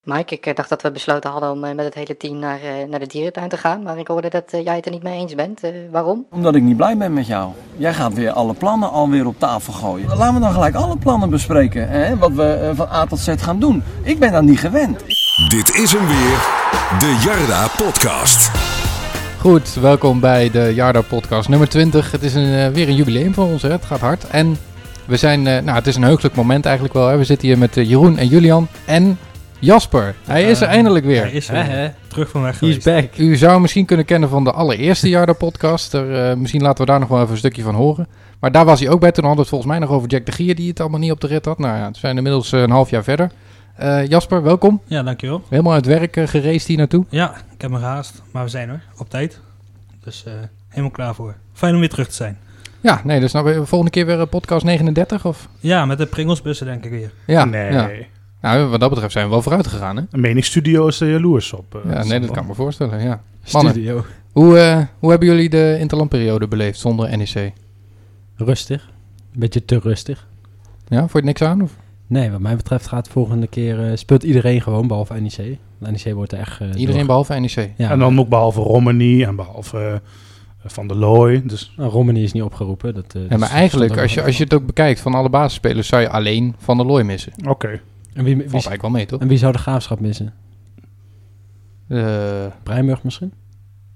Mike, ik eh, dacht dat we besloten hadden om eh, met het hele team naar, eh, naar de dierentuin te gaan. Maar ik hoorde dat eh, jij het er niet mee eens bent. Eh, waarom? Omdat ik niet blij ben met jou. Jij gaat weer alle plannen alweer op tafel gooien. Laten we dan gelijk alle plannen bespreken. Hè? Wat we eh, van A tot Z gaan doen. Ik ben daar niet gewend. Dit is hem weer, de Jarda Podcast. Goed, welkom bij de Jarda Podcast nummer 20. Het is een, eh, weer een jubileum voor ons, hè? het gaat hard. En we zijn, eh, nou, het is een heugelijk moment eigenlijk wel. Hè? We zitten hier met eh, Jeroen en Julian en Jasper. Hij is er Eh, eindelijk weer. Hij is er weer. Terug van weg He's geweest. back. U zou hem misschien kunnen kennen van de allereerste Jarda podcast. Er, eh, misschien laten we daar nog wel even een stukje van horen. Maar daar was hij ook bij. Toen hadden we het volgens mij nog over Jack de Gier die het allemaal niet op de rit had. Nou ja, we zijn inmiddels eh, een half jaar verder. Eh, Jasper, welkom. Ja, dankjewel. Helemaal uit werk eh, gereisd hier naartoe. Ja, ik heb me gehaast, maar we zijn er. Op tijd. Dus eh, helemaal klaar voor. Fijn om weer terug te zijn. Ja, nee, dus nou weer- volgende keer weer eh, podcast 39 of? Ja, met de Pringelsbussen denk ik weer. Ja, nee. ja. Nou, wat dat betreft zijn we wel vooruit gegaan, hè? Een meningsstudio is er jaloers op. eh, Ja, nee, dat Sander. kan ik me voorstellen, ja. Mannen. Studio. Hoe, eh, hoe hebben jullie de interlandperiode beleefd zonder E NEC? Rustig. Een beetje te rustig. Ja, vond je het niks aan? Of? Nee, wat mij betreft gaat volgende keer... eh, speelt iedereen gewoon, behalve NEC. NEC wordt er echt... eh, Iedereen door- behalve E NEC. Ja, En dan ook behalve Romani en behalve eh, Van der Looy. Dus Nou, Romani is niet opgeroepen. Dat, eh, Ja, dat maar stond ook eigenlijk, als je, nog als je het ook bekijkt van alle basisspelers, zou je alleen Van der Looy missen. oké. wel. En wie, wie, Valt eigenlijk wel mee, toch? en wie zou de graafschap missen? Eh, Breinburg misschien?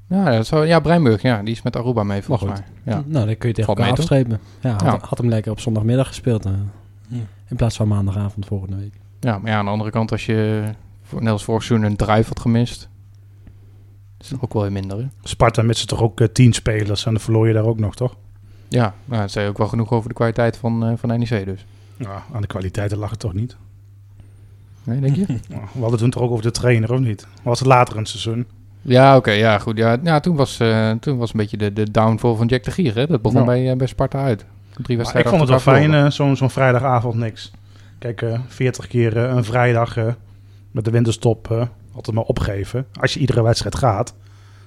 ja, dat zou, ja, Breinburg, ja, die is met Aruba mee volgens Maar mij. Ja. Nou, dan kun je tegen Valt elkaar mee, afstrepen. Ja, had, Ja. had hem lekker op zondagmiddag gespeeld. eh. Ja. In plaats van maandagavond volgende week. ja, maar ja, aan de andere kant, als je voor- net als vorig seizoen een druif had gemist, is het ook wel weer minder, hè? Sparta met ze toch ook eh, tien spelers en dan verloor je daar ook nog, toch? Ja, nou, het zei ook wel genoeg over de kwaliteit van, eh, van NEC dus. Ja, Ah, aan de kwaliteiten lag het toch niet? Nee, denk je? Ja, we hadden toen toch ook over de trainer, of niet? Dat was het later in het seizoen. Ja, oké, ja, goed. Ja, ja, toen, was, eh, toen was een beetje de, de downfall van Jack de Gier. Hè? Dat begon Ja. bij, eh, bij Sparta uit. Drie Maar ik wedstrijden vond het wel achter elkaar fijn, eh, zo'n zo'n vrijdagavond niks. Kijk, eh 40 keer eh, een vrijdag eh, met de winterstop eh, altijd maar opgeven. Als je iedere wedstrijd gaat.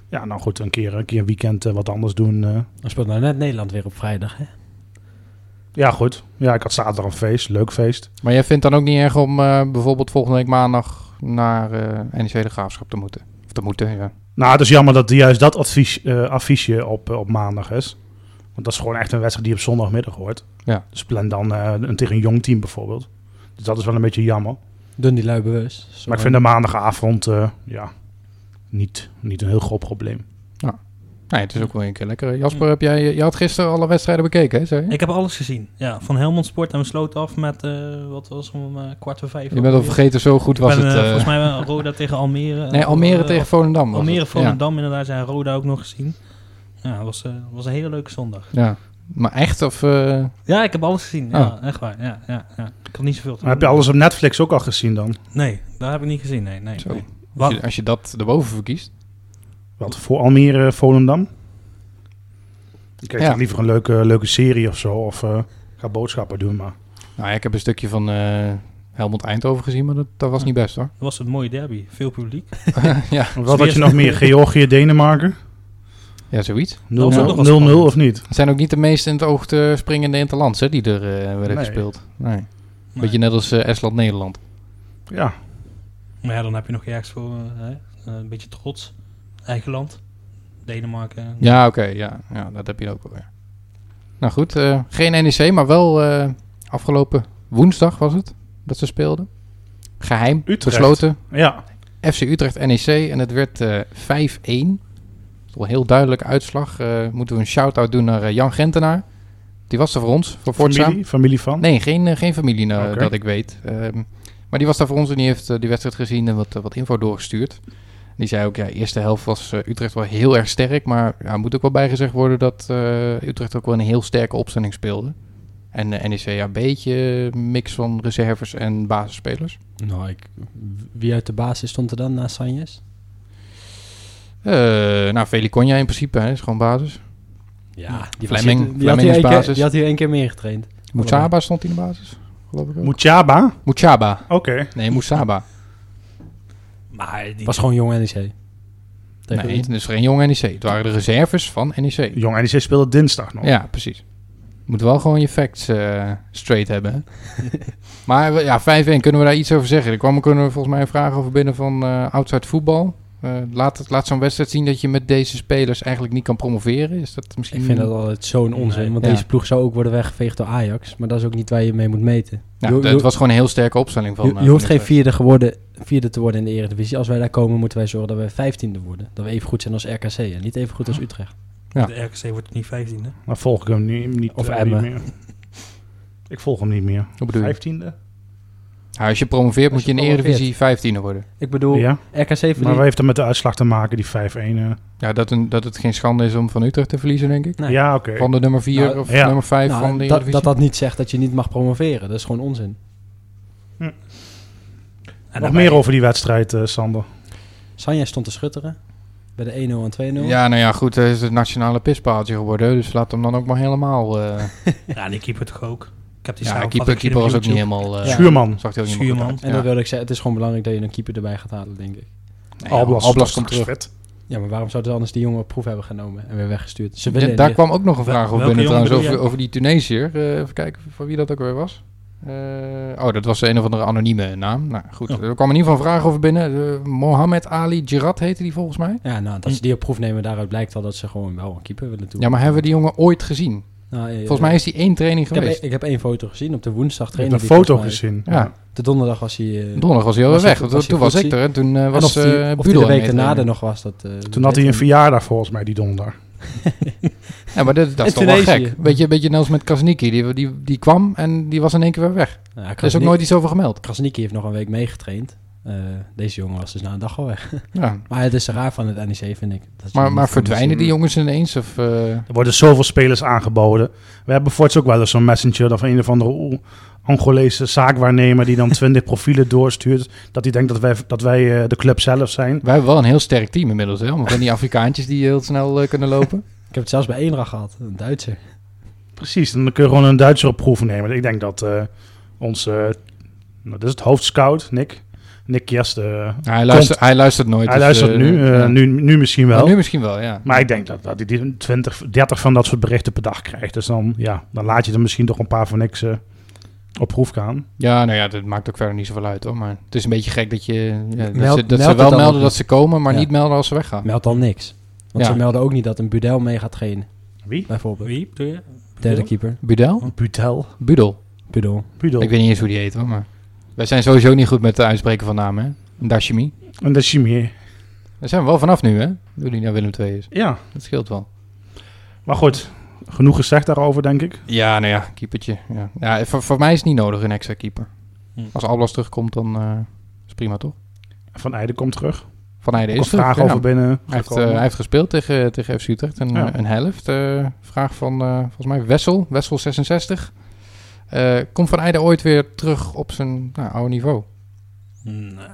Ja, nou goed, een keer een keer een weekend eh, wat anders doen. eh, Dan speelt nou net Nederland weer op vrijdag. Hè? Ja, goed. Ja, ik had zaterdag een feest. Leuk feest. Maar jij vindt dan ook niet erg om eh, bijvoorbeeld volgende week maandag naar eh NEC de Graafschap te moeten? Of te moeten, ja. Nou, het is jammer dat juist dat advies, eh, affiche op, eh, op maandag is. Want dat is gewoon echt een wedstrijd die op zondagmiddag hoort. Ja. Dus plan dan eh, een, tegen een jong team bijvoorbeeld. Dus dat is wel een beetje jammer. Doen die lui bewust. Zo- Maar ik vind de maandagavond eh, ja, niet, niet een heel groot probleem. Nee, het is ook wel een keer lekker. Jasper, heb jij, je had gisteren alle wedstrijden bekeken, hè? Zei je? Ik heb alles gezien. Ja, van Helmond Sport en we sloten af met, eh, wat was het, om eh, kwart voor vijf. Je bent al vergeten, zo goed Ik was ben, het. eh, eh, volgens mij eh, Roda tegen Almere. eh, nee, Almere eh, tegen of- Volendam. was Almere, het. Volendam inderdaad, zijn Roda ook nog gezien. Ja, het was, eh, was een hele leuke zondag. Ja. ja. Maar echt, of... eh, Ja, ik heb alles gezien. Ja, Ah. echt waar. Ja, ja, ja. Ik had niet zoveel te Maar heb je doen. alles op Netflix ook al gezien dan? Nee, dat heb ik niet gezien. Nee, nee. Zo. nee. als, Wat- je, als je dat erboven verkiest. Wat, voor Almere, eh, Volendam? Ik kijk Ja. dan liever een leuke, leuke serie of zo. Of eh, ga boodschappen doen, maar... Nou ja, ik heb een stukje van eh, Helmond Eindhoven gezien, maar dat, dat was niet best, hoor. Het was een mooie derby. Veel publiek. ja. Wat had je nog meer? Georgië, Denemarken? 0-0 ja, zoiets. was ook nog wel spannend. of niet? Het zijn ook niet de meest in het oog te springende interlands hè, die er eh, werden Nee. gespeeld. Nee. Nee. Beetje net als eh, Estland-Nederland. Ja, Maar ja, dan heb je nog ergens voor eh, hè, een beetje trots. Eigen land. Denemarken. Ja, oké. ja. ja, dat heb je ook wel weer. Nou goed, eh, geen NEC, maar wel eh, afgelopen woensdag was het dat ze speelden. Geheim, Utrecht. besloten. ja. FC Utrecht NEC en het werd eh 5-1. Dat is wel een heel duidelijke uitslag. Eh, moeten we een shout-out doen naar eh, Jan Gentenaar. Die was er voor ons, voor Voortzaam. Familie, familie van? Nee, geen, eh, geen familie nou, Oké. dat ik weet. Ehm, maar die was daar voor ons en die heeft eh, die wedstrijd gezien en wat, eh, wat info doorgestuurd. Die zei ook, ja, eerste helft was eh, Utrecht wel heel erg sterk. Maar ja, moet ook wel bijgezegd worden dat eh, Utrecht ook wel een heel sterke opstelling speelde. En eh, NEC ja, een beetje mix van reserves en basisspelers. Nou, ik, wie uit de basis stond er dan naast Sanjes? Eh nou, Velikonja in principe, hè, is gewoon basis. Ja, die was Fleming. hier- die Fleming is had hier één keer- basis. Die had hier één keer meer getraind. Moetsaba stond in de basis, geloof ik ook. Muchaba? Moetsaba. Oké. Nee, Moetsaba. Maar die, was gewoon jong NEC. Tegen dus E Nee, het is geen jong NEC. Het waren de reserves van E NEC. Jong NEC speelde dinsdag nog. Ja, precies. moet wel gewoon je facts eh, straight hebben. hè. maar we- ja, 5-1, kunnen we daar iets over zeggen? Er kwam kunnen we volgens mij een vraag over binnen van eh outside voetbal. Eh, laat het- laat zo'n wedstrijd zien dat je met deze spelers eigenlijk niet kan promoveren. Is dat misschien... Ik vind dat altijd zo'n onzin, want Ja. deze ploeg zou ook worden weggeveegd door Ajax. Maar dat is ook niet waar je mee moet meten. Ja, Je- dat- je- het was gewoon een heel sterke opstelling van... Je, eh, je hoeft van geen dit, eh, vierde, geworden, vierde te worden in de Eredivisie. Als wij daar komen, moeten wij zorgen dat wij vijftiende worden. Dat we even goed zijn als RKC en niet even goed als Utrecht. Ja. De RKC wordt niet 15, hè? Maar volg ik hem niet, niet, Of eh, Emmen. niet meer. Ik volg hem niet meer. Hoe bedoel je? Vijftiende? Ja, als je promoveert Als moet je in je de Eredivisie 15 worden. Ik bedoel, Ja. RKC Maar verliest... wat heeft dat met de uitslag te maken, die 5-1? eh? Ja, dat, een, dat het geen schande is om van Utrecht te verliezen, denk ik. Nee. Ja, oké. Van de nummer 4 Nou, of ja. nummer 5 Nou, van de dat, Eredivisie. dat dat niet zegt dat je niet mag promoveren. Dat is gewoon onzin. En Nog daarbij- meer over die wedstrijd, eh, Sander. Sanja stond te schutteren bij de 1-0 en 2-0. Ja, nou ja, goed, hij is het nationale pispaaltje geworden. Dus laat hem dan ook maar helemaal... eh Ja, die keeper toch ook. Ik heb die nou ja, samenvatting keeper, gezien keeper op was ook niet YouTube. helemaal... eh Ja. Schuurman. Zag hij ook niet Schuurman. helemaal goed En uit. dan Ja. wilde ik zeggen, het is gewoon belangrijk dat je een keeper erbij gaat halen, denk ik. Nee, Alblas, Alblas is komt straks terug. vet. Ja, maar waarom zouden ze anders die jongen op proef hebben genomen en weer weggestuurd? Ze Ja, willen daar kwam ook nog een vraag over welke binnen jongen trouwens, bedoel over, jij? over die Tunesiër. Eh, even kijken van wie dat ook weer was. Eh, oh, dat was een of andere anonieme naam. Nou goed, Oh. er kwam in ieder geval een vraag over binnen. Eh, Mohamed Ali Gerard heette die volgens mij. Ja, nou, dat ze die op proef nemen, daaruit blijkt al dat ze gewoon wel een keeper willen doen. Hm. Ja, maar hebben we die jongen ooit gezien? Nou, eh, Volgens mij is die één training ik heb, e- geweest. ik heb één foto gezien op de woensdag. Ik heb trainde een die foto volgens mij. gezien. Ja, De donderdag was hij... eh, donderdag was hij alweer Was weg. hij- want was hij toen was ik goed? er en toen eh, en was of, die, eh of die Budel de aan week het daarna er meetrainen. nog was. Dat, eh, Toen had weet hij een ik niet. verjaardag volgens mij, die donderdag. Ja, maar dat, dat is In toch wel Tunesië. gek. Beetje, beetje net als met Krasniki. Die, die, die kwam en die was in één keer weer weg. Ja, Er is ook nooit iets over gemeld. Krasniki heeft nog een week meegetraind. Eh, deze jongen was dus na een dag al weg. Ja. Maar het is te raar van het NEC, vind ik. Dat Maar, ze hem maar niet kunnen verdwijnen die jongens ineens? Of, eh, Er worden zoveel spelers aangeboden. We hebben voorts ook wel eens zo'n messenger of een of andere oe- Angolese zaakwaarnemer die dan 20 profielen doorstuurt. Dat hij denkt dat wij, dat wij eh, de club zelf zijn. Wij hebben wel een heel sterk team inmiddels, hè? Van die Afrikaantjes die heel snel eh, kunnen lopen. zien. Ik heb het zelfs bij Eendracht gehad, een Duitser. Precies, dan kun je gewoon een Duitser op proef nemen. Ik denk dat eh, onze, eh, dat is het hoofdscout, Nick. Nick Jeste. eh, hij, luistert, hij luistert nooit. hij dus, luistert eh, nu, eh, ja. nu, nu misschien Maar wel. nu misschien wel, ja. Maar ik denk dat, dat hij die 20, 30 van dat soort berichten per dag krijgt. Dus dan, ja, dan laat je er misschien toch een paar van niks eh, op proef gaan. Ja, nou ja, dat maakt ook verder niet zoveel uit, hoor. Maar het is een beetje gek dat, je, ja, dat, Meld- ze, dat meld ze het wel dan melden ook dat niet. ze komen, maar Ja. niet melden als ze weggaan. Meld dan niks. Want Ja. ze melden ook niet dat een Budel mee gaat trainen, Wie? bijvoorbeeld. Wie bedoel je? Derde keeper, Budel? Butel. Budel. Budel. Budel. Ik weet niet eens hoe die heet, hoor. Maar wij zijn sowieso niet goed met het uitspreken van namen, hè. Dashimi. En dat is Jimmy. Daar zijn we wel vanaf nu, hè. Doe die naar Willem II is. Ja, Dat scheelt wel. maar goed. Genoeg gezegd daarover, denk ik. Ja, nou ja, keepertje. Ja. Ja, voor, voor mij is het niet nodig, een extra keeper. Hm. Als Alblas terugkomt, dan eh, is prima, toch? Van Eijden komt terug. Van Heijden Ook een is terug, vraag ja. over binnen. Hij heeft, eh, gekomen. hij heeft gespeeld tegen, tegen FC Utrecht. Een, Ja. een helft. eh, vraag van, eh, volgens mij, Wessel. Wessel 66. Eh, komt Van Eijden ooit weer terug op zijn nou, oude niveau? Nou,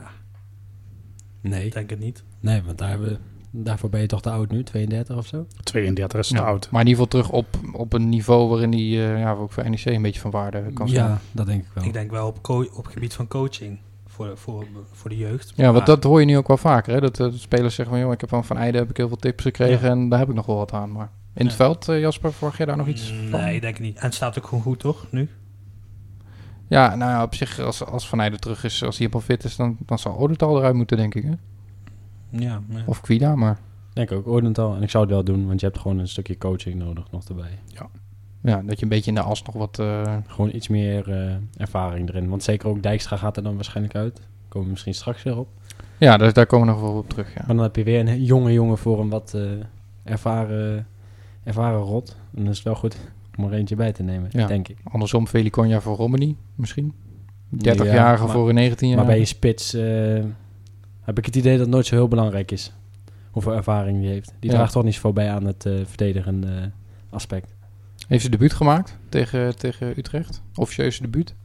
Nee. ik denk het niet. Nee, want daar hebben, daarvoor ben je toch te oud nu, 32 of zo? 32 is te Ja. oud. Maar in ieder geval terug op, op een niveau waarin hij eh, ja, ook voor NEC een beetje van waarde kan zijn. Ja, dat denk ik Oh. wel. Ik denk wel op, co- op gebied van coaching voor, voor, voor de jeugd. Ja, want Ah. Maar dat hoor je nu ook wel vaker. Hè? Dat eh, de spelers zeggen van, joh, ik heb van Van Eijden heb ik heel veel tips gekregen en daar heb ik nog wel wat aan. Maar in het Ja. veld, eh, Jasper, verwacht jij daar nog iets van? mm, Nee, ik denk het niet. En het staat ook gewoon goed, toch? Nu? Ja, nou ja, op zich, als, als Van Eijden terug is, als hij helemaal fit is, dan, dan zou Odertal eruit moeten, denk ik. Hè? Ja. ja. Of Quida, maar denk ook Oordental. En ik zou het wel doen, want je hebt gewoon een stukje coaching nodig nog erbij. ja, dat je een beetje in de as nog wat... eh, Gewoon iets meer eh, ervaring erin. Want zeker ook Dijkstra gaat er dan waarschijnlijk uit. Komen we misschien straks weer op. ja, daar, daar komen we nog wel op terug, ja. Maar dan heb je weer een jonge jongen voor een wat eh, ervaren, ervaren rot. En dan is het wel goed om er eentje bij te nemen, Ja. denk ik. Andersom Velikonja voor Romani, misschien. 30-jarige Ja, maar- voor een 19-jarige. Maar bij een spits eh, heb ik het idee dat het nooit zo heel belangrijk is. Hoeveel ervaring die heeft. Die Ja. draagt toch niet zoveel bij aan het eh, verdedigende aspect. Heeft ze debuut gemaakt tegen, tegen Utrecht? Officieuze debuut?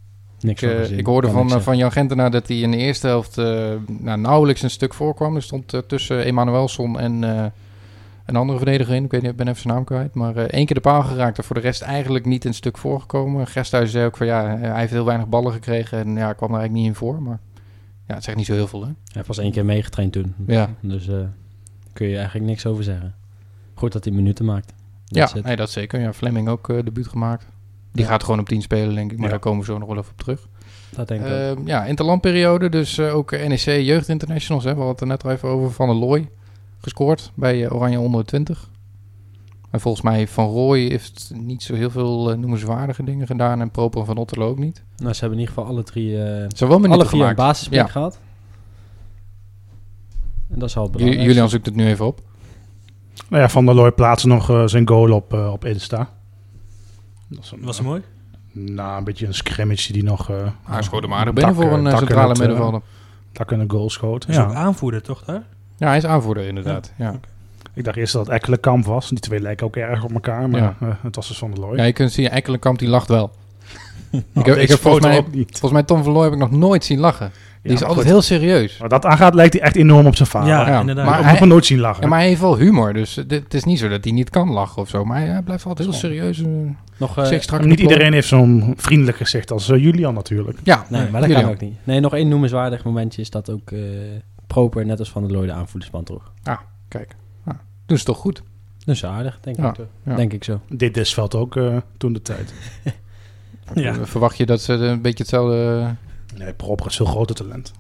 Niks Ik, eh, van gezien, ik hoorde kan van, niks eh, zeggen. van Jan Gentenaar dat hij in de eerste helft eh, nou, nauwelijks een stuk voorkwam. Er stond eh, tussen Emanuelson en eh, een andere verdediger in. Ik weet niet, ik ben even zijn naam kwijt. Maar eh, één keer de paal geraakt en voor de rest eigenlijk niet een stuk voorgekomen. Gesthuis zei ook van ja, eh, hij heeft heel weinig ballen gekregen en ja, kwam er eigenlijk niet in voor. Maar ja, het zegt niet zo heel veel hè. Hij heeft pas één keer meegetraind toen. Ja, Dus eh, kun je eigenlijk niks over zeggen. Goed dat hij minuten maakt. ja That's it. nee, dat zeker. Ja, Fleming ook eh, debuut gemaakt. Die Ja. gaat gewoon op 10 spelen, denk ik. Maar Ja. daar komen we zo nog wel even op terug. Dat denk ik ook. Ehm, ja, interlandperiode. Dus eh, ook NEC Jeugd Internationals. Hè, we hadden het er net al even over. Van der Looy gescoord bij eh, Oranje 120. En volgens mij Van Rooij heeft niet zo heel veel eh, noemenswaardige dingen gedaan. En Proper van Otterlo ook niet. Nou, ze hebben in ieder geval alle drie, eh Ze hebben wel minuten alle vier een gemaakt. basisplek Ja. gehad. En dat is al het Ju- belangrijkste. Julian zoekt het nu even op. Nou ja, Van der Looy plaatste nog eh, zijn goal op, eh, op Insta. Dat Oh. is een, Was het mooi? nou, een beetje een scrimmage die nog... eh Maar hij schoot hem aardig binnen voor een eh, takken centrale het, eh, middenvelder. Takken een goal schoot. Hij is ook Ja. aanvoerder, toch daar? Ja, hij is aanvoerder inderdaad. Ja. Ik dacht eerst dat het Ekkelenkamp was. Die twee lijken ook erg op elkaar, maar Ja. eh, het was dus Van der Looy. Ja, je kunt zien, Ekkelenkamp die lacht wel. ik heb, Deze ik heb volgens, foto mij, ook niet. volgens mij Tom Verlooy heb ik nog nooit zien lachen. Die Ja, is maar altijd goed. heel serieus. Wat dat aangaat, lijkt hij echt enorm op zijn vader. Ja, ja, inderdaad. maar Maar hij- nog nooit zien lachen. Ja, maar hij heeft wel humor, dus eh, dit- het is niet zo dat hij niet kan lachen of zo. Maar hij, hij blijft altijd heel serieus. eh, Nog, eh, zich strak Maar niet op de iedereen heeft zo'n vriendelijk gezicht als eh, Julian natuurlijk. kop. Ja, Nee, maar dat Julian. kan ook niet. Nee, nog één noemenswaardig momentje is dat ook eh, Proper, net als Van der Looy, de aanvoerdersband droeg. Kijk, nou, doen ze toch goed. Dus aardig, denk, Ja, ik, ja. denk ik zo. Dit Desveld ook eh, toen de tijd. Ja. Eh, Verwacht je dat ze eh, een beetje hetzelfde... Nee, Proper is veel groter talent.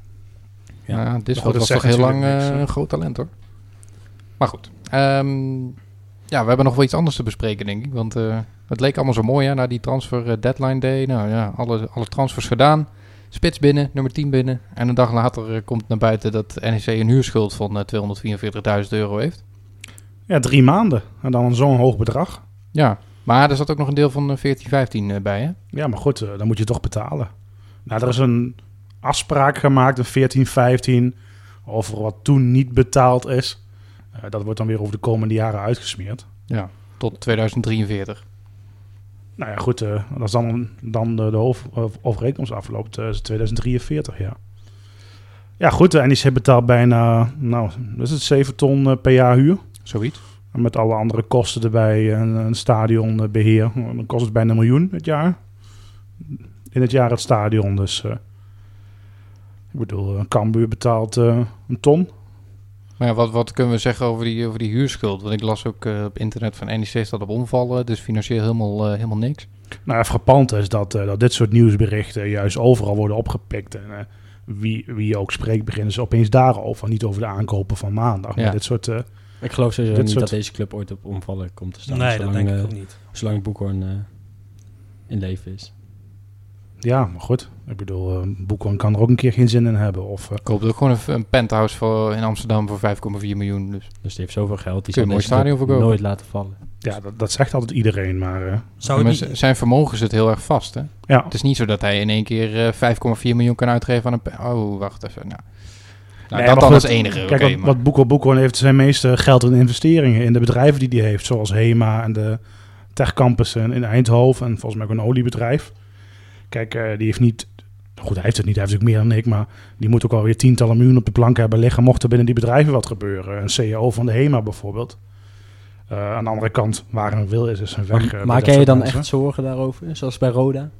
nou Ja, Ja. dit was Maar goed, dat toch zegt heel lang natuurlijk eh, niks, hè. een groot talent hoor. Maar goed, ehm, ja, we hebben nog wel iets anders te bespreken denk ik. Want eh, het leek allemaal zo mooi hè, na die transfer eh, deadline day. Nou ja, alle, alle transfers gedaan. Spits binnen, nummer 10 binnen. En een dag later eh, komt naar buiten dat NEC een huurschuld van eh, 244.000 euro heeft. Ja, drie maanden. En dan zo'n hoog bedrag. Ja, maar er zat ook nog een deel van eh, 14-15 eh, bij, hè? Ja, maar goed, eh, dan moet je toch betalen. Nou, er is een afspraak gemaakt in 14, 15 over wat toen niet betaald is. Eh, dat wordt dan weer over de komende jaren uitgesmeerd. Ja. Tot 2043. Nou ja, goed, eh, als dan, dan de, de hoofd- of- overeenkomst afloopt, eh, is het 2043, ja. Ja, goed, eh, de NEC betaalt bijna, nou, dat is het 7 ton eh, per jaar huur. Zoiets. En Met alle andere kosten erbij, een, een stadionbeheer. eh, Dan kost het bijna een miljoen het jaar. In het jaar het stadion, dus... eh, ik bedoel, eh, Cambuur betaalt eh, een ton. Maar ja, wat, wat kunnen we zeggen over die, over die huurschuld? Want ik las ook eh, op internet van NEC staat op omvallen, dus financieel helemaal, eh, helemaal niks. Nou, ja, frappant is dat, eh, dat dit soort nieuwsberichten juist overal worden opgepikt. En eh, wie, wie ook spreekt, beginnen ze opeens daarover. Niet over de aankopen van maandag. Ja. Maar dit soort. eh, Ik geloof sowieso Dit niet soort- dat deze club ooit op omvallen komt te staan. nee, dat zolang, denk ik eh, ook niet. Zolang Boekhoorn eh, in leven is. ja, maar goed. Ik bedoel, eh Boekhorn kan er ook een keer geen zin in hebben. Of, eh, Ik hoop ook gewoon een, een penthouse voor, in Amsterdam voor 5,4 miljoen. Nou, Dus. Dus die heeft zoveel geld. Die Kun je zal een mooi deze stadion club verkopen. nooit laten vallen. ja, dat, dat zegt altijd iedereen. Maar eh, Zou Maar het z- niet- zijn vermogen zit heel erg vast, hè? ja. Het is niet zo dat hij in één keer eh, 5,4 miljoen kan uitgeven aan een... pe- Oh, wacht even. Nou, nou Nee, dat maar dan goed, als enige. Kijk, oké, wat, maar- wat Boekhorn Boekhorn heeft zijn meeste geld in investeringen. In de bedrijven die hij heeft. Zoals HEMA en de techcampus in, in Eindhoven. En volgens mij ook een oliebedrijf. Kijk, eh, die heeft niet... Goed, hij heeft het niet. Hij heeft ook meer dan ik. Maar die moet ook alweer tientallen miljoen op de plank hebben liggen. Mocht er binnen die bedrijven wat gebeuren. Een CEO van de HEMA bijvoorbeeld. Eh, aan de andere kant, waar een wil is, is een weg. eh, bij Maar dat maak jij je soort dan mensen. echt zorgen daarover? Zoals bij Roda?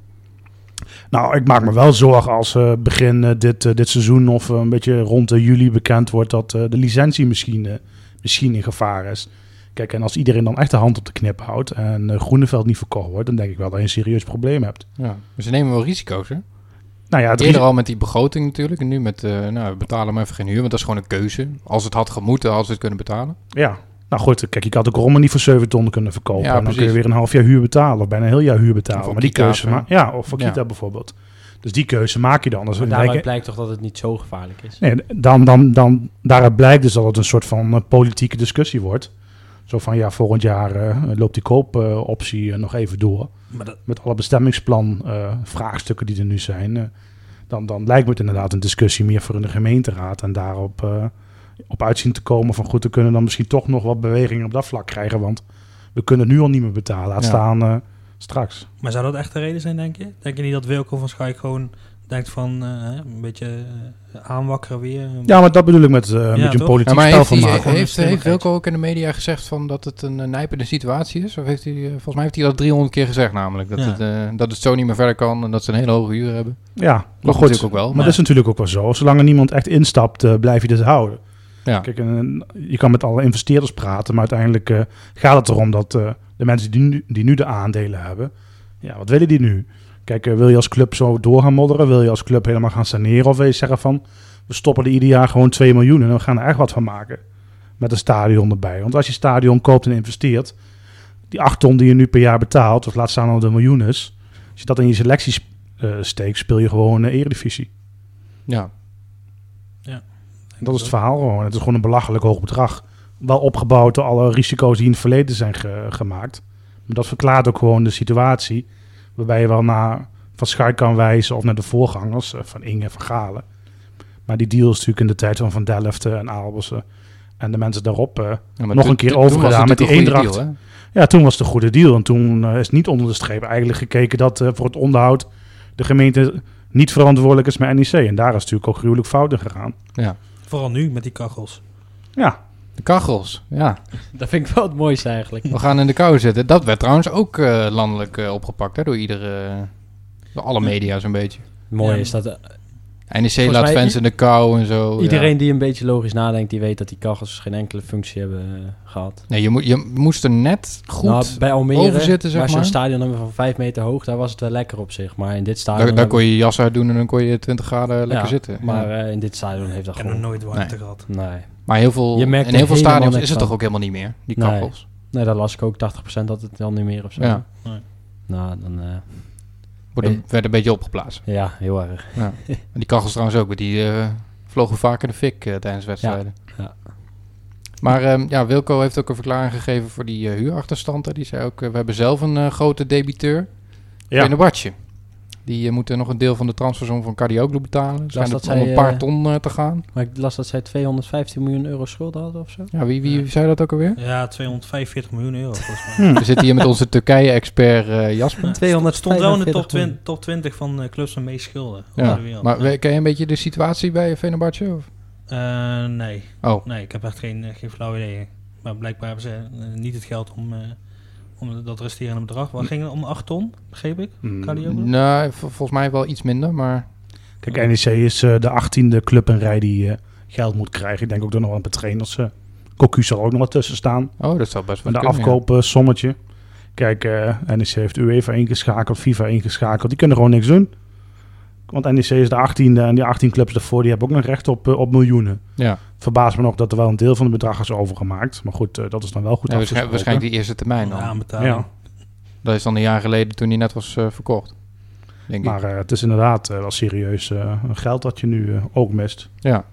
Nou, ik maak me wel zorgen als eh, begin eh, dit, eh, dit seizoen of eh, een beetje rond eh, juli bekend wordt dat eh, de licentie misschien, eh, misschien in gevaar is. Kijk, en als iedereen dan echt de hand op de knip houdt en eh, Groeneveld niet verkocht wordt, dan denk ik wel dat je een serieus probleem hebt. ja. Maar ze nemen wel risico's, hè? Nou ja, het Eerder risico- al met die begroting natuurlijk. En nu met, eh nou, we betalen hem even geen huur. Want dat is gewoon een keuze. Als het had gemoeten, hadden ze het kunnen betalen. ja. Nou goed, kijk, ik had ook Rommel niet voor 7 ton kunnen verkopen. Ja, en dan kun je precies. weer een half jaar huur betalen of bijna een heel jaar huur Of betalen. voor Maar die Kita, keuze, hè? ma- ja, of voor Ja. Kita bijvoorbeeld. Dus die keuze maak je dan. Dus Maar dan daaruit denk ik- blijkt toch dat het niet zo gevaarlijk is. Nee, dan, dan, dan, daaruit blijkt dus dat het een soort van eh, politieke discussie wordt. Zo van ja, volgend jaar eh, loopt die koopoptie eh, nog even door. maar dat, Met alle bestemmingsplan eh, vraagstukken die er nu zijn. eh, dan, dan lijkt me het inderdaad een discussie meer voor in de gemeenteraad. En daarop eh, op uitzien te komen van goed, we kunnen dan misschien toch nog wat bewegingen op dat vlak krijgen. Want we kunnen nu al niet meer betalen. Laat Ja. staan eh, straks. Maar zou dat echt de reden zijn, denk je? Denk je niet dat Wilco van Schaik gewoon denkt van eh, een beetje eh, aanwakkeren weer? Ja, maar dat bedoel ik met, eh, met een toch? politiek Ja, maar spel heeft, van hij, maken. gewoon heeft, een heeft slimmigheid. Wilco ook in de media gezegd van dat het een eh, nijpende situatie is? Of heeft hij, eh, volgens mij heeft hij dat 300 keer gezegd namelijk. Dat, Ja. het, eh, dat het zo niet meer verder kan en dat ze een hele hoge huur hebben. Ja, maar Klopt goed. natuurlijk ook wel. Maar Maar, dat is natuurlijk ook wel zo. Zolang er niemand echt instapt, eh, blijf je dit houden. Ja. Kijk, en, eh, je kan met alle investeerders praten, maar uiteindelijk eh, gaat het erom dat eh, de mensen die nu, die nu de aandelen hebben, Ja, wat willen die nu? Kijk, eh, wil je als club zo door gaan modderen? Wil je als club helemaal gaan saneren? Of wil je zeggen van, we stoppen er ieder jaar gewoon 2 miljoen en we gaan er echt wat van maken? Met een stadion erbij. Want als je stadion koopt en investeert, die 8 ton die je nu per jaar betaalt, of laat staan al de miljoen is, als je dat in je selectie sp- eh, steekt, speel je gewoon eh, eredivisie. Ja, Dat is het verhaal gewoon. Het is gewoon een belachelijk hoog bedrag. Wel opgebouwd door alle risico's die in het verleden zijn ge- gemaakt. Maar dat verklaart ook gewoon de situatie. Waarbij je wel naar Van Schuik kan wijzen of naar de voorgangers eh, van Inge en van Galen. Maar die deals natuurlijk in de tijd van Van Delft eh, en Aalbersen en de mensen daarop. eh. Ja, maar Nog toen- een keer toen- toen was overgedaan het met die natuurlijk een goede Eendracht. deal, hè? Ja, toen was het een goede deal. En toen eh, is niet onder de streep eigenlijk gekeken dat eh, voor het onderhoud de gemeente niet verantwoordelijk is met NEC. En daar is natuurlijk ook gruwelijk fouten gegaan. Vooral nu met die kachels. Ja, De kachels, ja. Dat vind ik wel het mooiste eigenlijk. We gaan in de kou zitten. Dat werd trouwens ook eh, landelijk eh, opgepakt hè, door iedere... eh, door alle media zo'n beetje. Mooi Ja. is dat eh, NEC Volgens laat mij fans i- in de kou en zo. Oh, ja. iedereen die een beetje logisch nadenkt, die weet dat die kachels geen enkele functie hebben eh, gehad. Nee, je, mo- je moest er net goed... Nou, bij Almere, over zitten, zeg waar maar. zo'n stadion hebben van 5 meter hoog, daar was het wel lekker op zich. Maar in dit stadion... daar, daar kon je je jas uit doen en dan kon je 20 graden lekker nou, Ja, zitten. Maar Ja. eh, in dit stadion heeft dat Ik heb nog gewoon... nooit warmte gehad. Nee. maar heel veel, je merkt in heel er veel helemaal stadions niks is het van. toch ook helemaal niet meer, die Nee. kachels. nee, daar las ik ook 80% dat het dan niet meer of zo. Ja. Nee. Nou, dan... eh, Wordt een- Nee. werd een beetje opgeplaatst. ja, heel erg. En die kachels trouwens ook, want die eh, vlogen vaak in de fik eh, tijdens wedstrijden. ja. Maar ehm, ja, Wilco heeft ook een verklaring gegeven voor die eh, huurachterstand. hè. Die zei ook, eh, we hebben zelf een eh, grote debiteur, ja. Fenerbahce. Die eh, moeten nog een deel van de transfersom van Cardioglu betalen. Zijn dat dat om zij, een paar eh, ton eh, te gaan. Maar ik las dat zij 215 miljoen euro schulden hadden of zo. Ja, wie, wie zei dat ook alweer? Ja, 245 miljoen euro volgens mij. Hm. We zitten hier met onze Turkije-expert eh, Jasper. 245 Stond wel in de top miljoen. 20, top 20 van eh, clubs van meest schulden over Ja, de wereld. maar we- ken je een beetje de situatie bij Fenerbahce? Of? Eh, nee. Oh. nee, ik heb echt geen, eh, geen flauw idee. Maar blijkbaar hebben ze eh, niet het geld om, eh, om dat resterende bedrag. Wat ging het om 8 ton, begreep ik? Hm. Cardioglu? Nee, Nou, vol- volgens mij wel iets minder, maar Kijk, NEC is eh, de achttiende club in rij die eh, geld moet krijgen. Ik denk ook dat nog wel een paar trainers. eh Cocu zal er ook nog wat tussen staan. oh, dat zou best wel Met de kunnen, ja. afkoopsommetje. Kijk, eh, NEC heeft UEFA ingeschakeld, FIFA ingeschakeld. Die kunnen gewoon niks doen. Want NEC is de achttiende en die 18 clubs daarvoor die hebben ook nog recht op, eh, op miljoenen. Ja, Verbaast me nog dat er wel een deel van het bedrag is overgemaakt. Maar goed, eh, dat is dan wel goed ja, waarschijn- afgesproken. waarschijnlijk die eerste termijn Een dan. aanbetaling. Ja. Dat is dan een jaar geleden toen hij net was eh, verkocht. Denk ik. Maar eh, het is inderdaad eh, wel serieus eh, geld dat je nu eh, ook mist. Ja.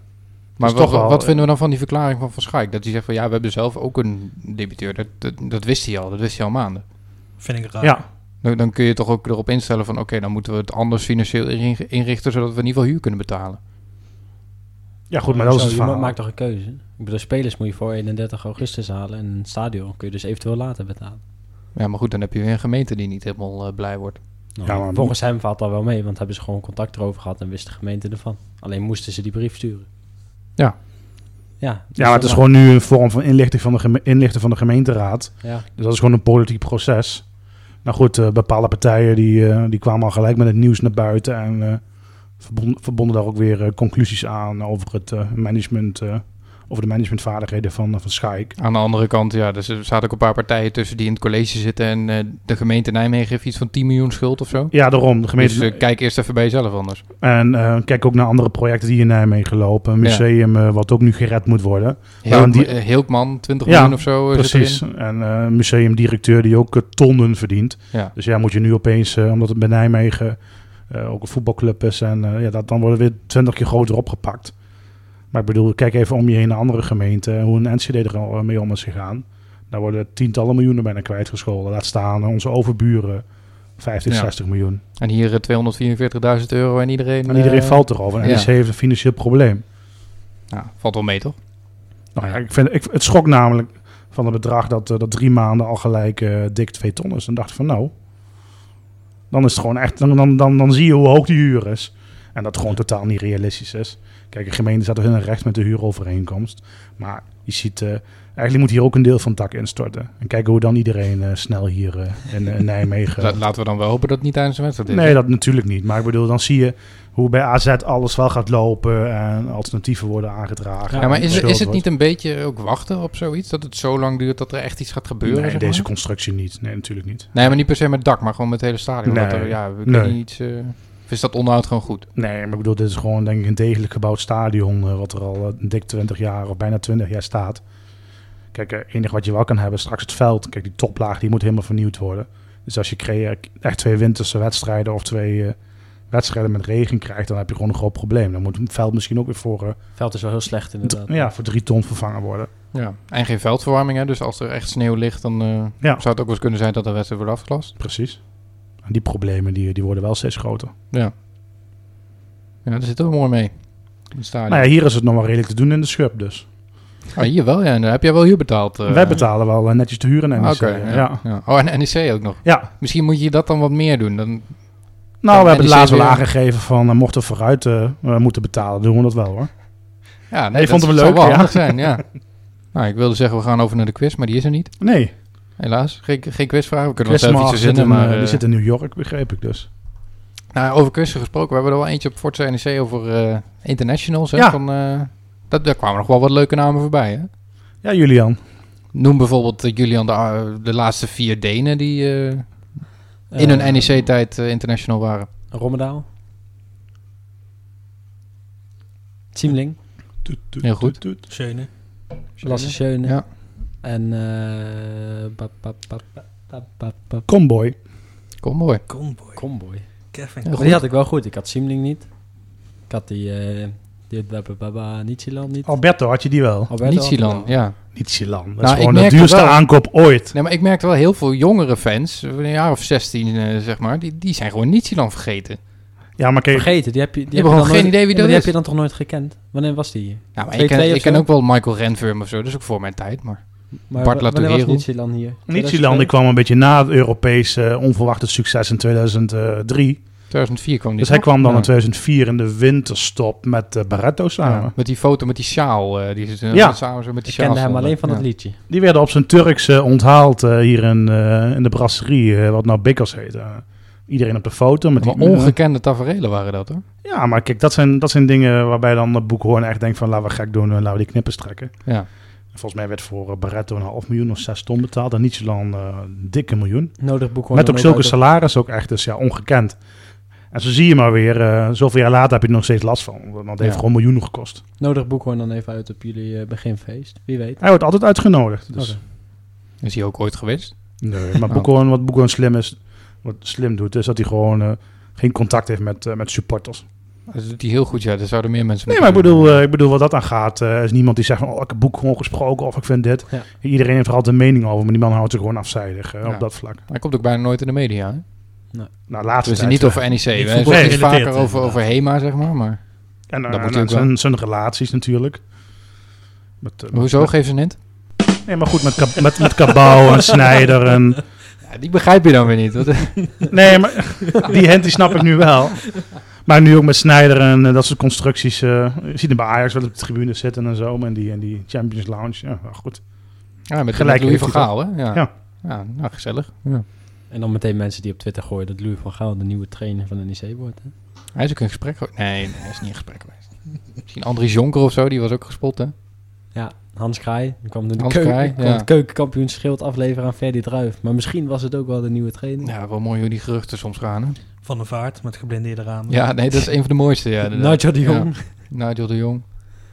Maar is wat, toch wel, wat eh, vinden we dan van die verklaring van Van Schaik? Dat hij zegt van ja, we hebben zelf ook een debiteur. Dat, dat, dat wist hij al, dat wist hij al maanden. Vind ik raar. Ja, Dan, dan kun je toch ook erop instellen van oké, dan moeten we het anders financieel inri- inrichten zodat we in ieder geval huur kunnen betalen. ja goed, maar dat is Zo, het je ma- verhaal. maakt toch een keuze? Ik bedoel, spelers moet je voor 31 augustus halen en een stadion kun je dus eventueel later betalen. Ja, maar goed, dan heb je weer een gemeente die niet helemaal eh, blij wordt. Nou, Ja, maar- volgens hem valt dat wel mee, want hebben ze gewoon contact erover gehad en wist de gemeente ervan. Alleen moesten ze die brief sturen. Ja. Ja, dus Ja, maar het dan is maar- gewoon nu een vorm van inlichting van de, geme- inlichten van de gemeenteraad. Ja, Dus dat is gewoon een politiek proces. Nou goed, eh, bepaalde partijen die, eh, die kwamen al gelijk met het nieuws naar buiten. En eh, verbond- verbonden daar ook weer eh, conclusies aan over het eh, management. eh, over de managementvaardigheden van, van Schaik. Aan de andere kant, ja, dus er zaten ook een paar partijen tussen die in het college zitten en eh, de gemeente Nijmegen heeft iets van 10 miljoen schuld of zo. Ja, daarom. De gemeente, Dus eh, kijk eerst even bij jezelf anders. en eh, kijk ook naar andere projecten die in Nijmegen lopen. Een museum eh, wat ook nu gered moet worden. Heel, die- Hilkman, 20 Ja, miljoen of zo. eh, zit Precies. erin. En eh museumdirecteur die ook eh, tonnen verdient. Ja. Dus ja, moet je nu opeens, eh, omdat het bij Nijmegen eh, ook een voetbalclub is, en eh, ja, dat, dan worden we weer twintig keer groter opgepakt. Maar ik bedoel, kijk even om je heen naar andere gemeenten, hoe een NCD er al eh, mee om is gegaan. Daar worden tientallen miljoenen bijna kwijtgescholden. Laat staan eh, onze overburen 15, Ja. 60 miljoen. En hier eh, 244.000 euro en iedereen. En iedereen eh, valt erover. En ja. NEC heeft een financieel probleem. Ja, valt wel mee toch? Nou ja, ik vind, ik, het schrok namelijk van het bedrag dat, eh, dat drie maanden al gelijk eh, dik twee ton is. En dacht van nou, dan is het gewoon echt, dan, dan, dan, dan zie je hoe hoog die huur is. En dat gewoon totaal niet realistisch is. Kijk, de gemeente staat er hun recht met de huurovereenkomst. Maar je ziet, eh, eigenlijk moet hier ook een deel van het dak instorten. En kijken hoe dan iedereen eh, snel hier eh, in, in Nijmegen... La- Laten we dan wel hopen dat het niet tijdens een wedstrijd is. Nee, dat natuurlijk niet. Maar ik bedoel, dan zie je hoe bij AZ alles wel gaat lopen en alternatieven worden aangedragen. Ja, maar en is, gespeeld is het wordt. niet een beetje ook wachten op zoiets? Dat het zo lang duurt dat er echt iets gaat gebeuren? Nee, zeg deze maar? constructie niet. Nee, natuurlijk niet. nee, maar niet per se met het dak, maar gewoon met het hele stadion. Nee. Dat er- ja, we kunnen Nee. niet iets... eh, of is dat onderhoud gewoon goed? Nee, maar ik bedoel, dit is gewoon denk ik een degelijk gebouwd stadion... eh, wat er al eh, dik 20 jaar of bijna 20 jaar staat. Kijk, het enige wat je wel kan hebben is straks het veld. Kijk, die toplaag die moet helemaal vernieuwd worden. Dus als je crea- echt twee winterse wedstrijden of twee eh, wedstrijden met regen krijgt... dan heb je gewoon een groot probleem. Dan moet het veld misschien ook weer voor, eh, Veld is wel heel slecht inderdaad. ja, voor drie ton vervangen worden. Ja. En geen veldverwarming, hè? Dus als er echt sneeuw ligt, dan eh, Ja. zou het ook wel eens kunnen zijn dat de wedstrijd wordt afgelast. Precies. En die problemen die, die worden wel steeds groter. Ja, daar zit ook mooi mee. In het stadion. Nou ja, hier is het nog wel redelijk te doen in de schub dus. Oh, hier wel, ja. En daar heb jij wel huur betaald. eh. Wij betalen wel eh, netjes te huren en Oké, ja. ja, E ja. ja. Oh, en NEC ook nog. Misschien moet je dat dan wat meer doen. Dan, Nou, Ja, we hebben het NEC laatst wel weer- aangegeven van eh, mochten we vooruit eh, we moeten betalen, doen we dat wel hoor. ja, Nee, nee, vond dat hem zou leuk, wel ja. handig zijn, ja. Nou, ik wilde zeggen, we gaan over naar de quiz, maar die is er niet. Nee, Helaas. Geen, geen quizvraag. We kunnen wel Chris zelf iets Maag zit, in, verzinnen, eh, maar... die eh, zit in New York, begreep ik dus. nou, over quizzen gesproken. We hebben er wel eentje op Forza NEC over eh, internationals. Hè, Ja. van, eh, dat, daar kwamen nog wel wat leuke namen voorbij, hè? Ja, Julian. Noem bijvoorbeeld eh, Julian de, de laatste vier Denen die eh, in hun NEC-tijd eh, international waren. Rommedaal. Ziemling. Heel goed. Schöne. Lasse Schöne. Ja. En... eh, ba- ba- ba- ba- ba- ba- ba- Comboy. Kom, mooi. Conboy. Comboy. Kevin. Ja, Maar goed. Die had ik wel goed. Ik had Siemling niet. Ik had die... eh die ba- ba- ba- ba- Nietzscheland niet. Alberto had je die wel. Alberto had ik Nietzscheland, wel. ja. Niet Silan. Dat Nou, is ik gewoon de merkte duurste wel- aankoop ooit. Nee, maar ik merkte wel heel veel jongere fans, eh, een jaar of 16 eh, zeg maar, die, die zijn gewoon Nietzscheland vergeten. Ja, maar kijk, Vergeten. Die heb je, hebben die heb je gewoon dan geen nooit- idee wie Ja, maar dat Die is. heb je dan toch nooit gekend? Wanneer was die? hier? Ja, Nou, maar 2-2 ik ken, of ik ken zo? ook wel Michael Renfurm of zo, dat is ook voor mijn tijd. Maar Maar Bart wa- Latorero. Wanneer was Nietzscheland hier? Nietzscheland die kwam een beetje na het Europese eh, onverwachte succes in 2003. 2004 kwam die. Dus hij toch? kwam dan Ja. in 2004 in de winterstop met eh, Barretto samen. Ja, met die foto met die sjaal, eh, die zit eh, Ja. samen zo met die Ik sjaal. kende hem stonden. alleen van Ja. het liedje. Die werden op zijn Turks eh, onthaald eh, hier in, eh, in de brasserie, eh, wat nou Bikkers heet. eh. iedereen op de foto. Met Maar die, ongekende tafereelen waren dat hoor. ja, maar kijk, dat zijn, dat zijn dingen waarbij dan de boekhoorn echt denkt van laten we gek doen en laten we die knippen strekken. Ja. Volgens mij werd voor eh, Barretto een half miljoen of zes ton betaald. En Nietzscheland eh, een dikke miljoen. Nodig boek met ook zulke salaris ook echt, dus ja, ongekend. En zo zie je maar weer, eh, zoveel jaar later heb je er nog steeds last van. Want dat heeft Ja. gewoon miljoenen gekost. Nodig Boekhoorn dan even uit op jullie eh, beginfeest. Wie weet. Hij wordt altijd uitgenodigd. Dus. Oké. Is hij ook ooit geweest? Nee, maar Oh. Boekhorn, wat Boekhorn slim is, wat slim doet, is dat hij gewoon eh, geen contact heeft met, eh, met supporters. Dat doet hij heel goed, ja. Daar zouden meer mensen Nee, maar ik moeten bedoel, doen. eh, ik bedoel wat dat aan gaat, eh, is niemand die zegt van, oh, ik heb Boekhorn gesproken of ik vind dit. Ja. Iedereen heeft er altijd een mening over, maar die man houdt zich gewoon afzijdig eh, Ja. op dat vlak. Hij komt ook bijna nooit in de media. Hè? Nou, laatste Dus tijd, niet eh, over NEC. Niet hè. voetbal Het is gerelateerd, vaker over, inderdaad. over HEMA, zeg maar. maar En, eh, dat moet en ook wel. zijn, zijn relaties natuurlijk. Met, eh, hoezo? met- Geef ze een hint? nee, maar goed, met, Ka- met, met Cabau en Snijder en... Ja, die begrijp je dan weer niet. want- Nee, maar die hint die snap ik nu wel. Maar nu ook met Snijder en eh, dat soort constructies. eh, je ziet hem bij Ajax wel op de tribune zitten en zo. En die, en die Champions Lounge. Ja, wel goed. Ja, met, Gelijk Gelijk Louis van heeft hij Gaal, hè? Ja. Ja. ja. nou, gezellig. Ja. En dan meteen mensen die op Twitter gooien dat Louis van Gaal de nieuwe trainer van de NEC wordt. hè. Hij is ook in gesprek geweest. Nee, nee, hij is niet in gesprek geweest. Misschien Andries Jonker of zo, die was ook gespot, hè? Ja, Hans Kraai. Die kwam de Hans keuken, Kraai, kwam ja. het keukenkampioenschild afleveren aan Ferdi Druif. Maar misschien was het ook wel de nieuwe trainer. Ja, wel mooi hoe die geruchten soms gaan, hè? Van de vaart met geblindeerde ramen. Ja, nee, dat is een van de mooiste, ja. inderdaad. Nigel de Jong. Nigel de Jong.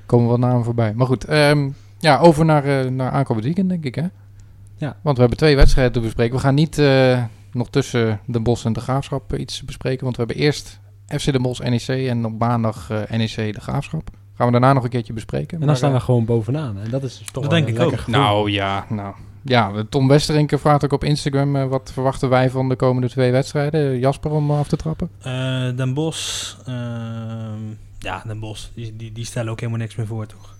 Komen wat namen voorbij. Maar goed, ehm, ja, over naar, eh, naar aankomend weekend, denk ik, hè? Ja. Want we hebben twee wedstrijden te bespreken. We gaan niet eh, nog tussen de Bos en de Graafschap eh, iets bespreken. Want we hebben eerst FC de Bos NEC E en op maandag eh, NEC de Graafschap. Gaan we daarna nog een keertje bespreken. En dan Maar, staan eh, we gewoon bovenaan. En dat is dus toch Dat wel denk een ik lekker ook. gevoel. Nou ja, nou. Ja, Tom Westerinke vraagt ook op Instagram... eh, wat verwachten wij van de komende twee wedstrijden? Jasper, om af te trappen. Eh, Den Bos. ja, Den Bos. Die, die, die stellen ook helemaal niks meer voor, toch?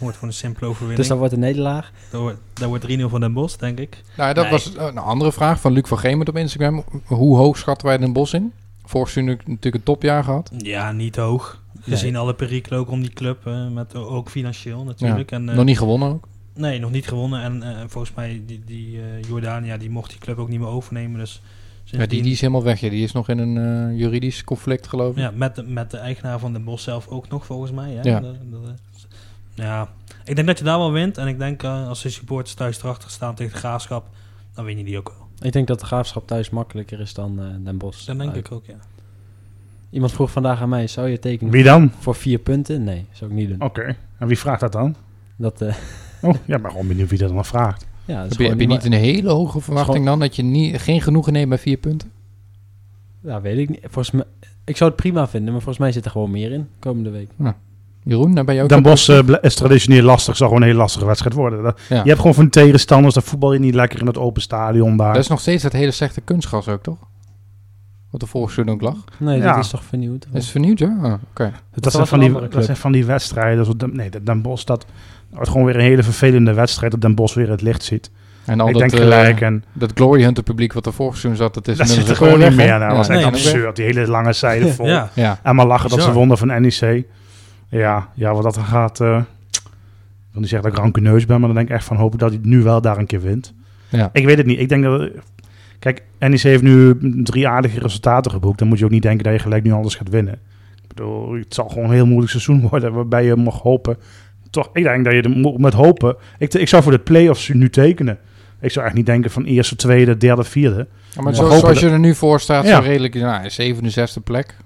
Wordt voor een simpele overwinning. Dus dat wordt een nederlaag. Daar wordt, daar wordt 3-0 van Den Bos, denk ik. Nou, dat Nee. was eh, een andere vraag van Luc van Gemert op Instagram. Hoe hoog schatten wij Den Bos in? Vorig seizoen natuurlijk natuurlijk een topjaar gehad. Ja, niet hoog. Gezien alle perikelen ook om die club, eh, met o- ook financieel natuurlijk. En, eh, Nog niet gewonnen ook. Nee, nog niet gewonnen. En eh, volgens mij, die, die eh, Jordania, die mocht die club ook niet meer overnemen. Dus Ja, die, sindsdien- die is helemaal weg. Ja. Die is nog in een eh, juridisch conflict, geloof ik. Ja, met, de, met de eigenaar van de bos zelf ook nog, volgens mij. Hè? Ja. De- de- de- ja, ik denk dat je daar wel wint. En ik denk eh, als de supporters thuis erachter staan tegen de graafschap, dan win je die ook wel. Ik denk dat de graafschap thuis makkelijker is dan eh, Den Bosch. Dat denk Uit. ik ook, ja. Iemand vroeg vandaag aan mij, zou je tekenen Wie dan? voor vier punten? Nee, zou ik niet Oh. doen. Oké. En wie vraagt dat dan? Dat, eh, Oh, ja, maar gewoon benieuwd wie dat dan vraagt. ja, dat Heb is je, gewoon heb je ma- niet een hele hoge verwachting dan dat je niet, geen genoegen neemt bij vier punten? Ja, weet ik niet. Volgens mij, ik zou het prima vinden, maar volgens mij zit er gewoon meer in komende week. Jeroen, daar ben je ook. Den Bosch eh, ble- is traditioneel lastig. Zal gewoon een hele lastige wedstrijd worden. Dat- Ja. Je hebt gewoon van tegenstanders. Dat voetbal je niet lekker in het open stadion daar. Dat is nog steeds dat hele slechte kunstgas ook, toch? Wat de vorige seizoen ook lag. Nee, Ja. dat is toch vernieuwd? Is het vernieuwd, ja? Ah, Oké. dat, wel zijn van een die, andere dat zijn van die wedstrijden. Zo, Den- nee, Den Bosch dat wordt gewoon weer een hele vervelende wedstrijd. Dat Den Bosch weer het licht ziet. En al ik dat, denk eh, gelijk. en dat Glory Hunter publiek wat er vorig seizoen zat, dat is dat zit inmiddels er ook gewoon niet weg, meer. hè? Nou, dat nee, is echt dat is- absurd. Die hele lange zijde vol. Ja, Ja. En maar lachen dat ze Bizar. wonnen van NEC. Ja, ja wat dat dan gaat. eh, ik wil niet zeggen dat ik rancuneus ben, maar dan denk ik echt van hoop ik dat hij het nu wel daar een keer wint. Ja. Ik weet het niet. Ik denk dat. Kijk, NEC heeft nu drie aardige resultaten geboekt. Dan moet je ook niet denken dat je gelijk nu alles gaat winnen. Ik bedoel, het zal gewoon een heel moeilijk seizoen worden waarbij je mag hopen. Toch, ik denk dat je er mo- met hopen. Ik, ik zou voor de play-offs nu tekenen. Ik zou echt niet denken van eerste, tweede, derde, vierde. Ja, maar Ja. zo- We hopen zoals dat- je er nu voor staat, Ja. zo redelijk nou, 67 plek.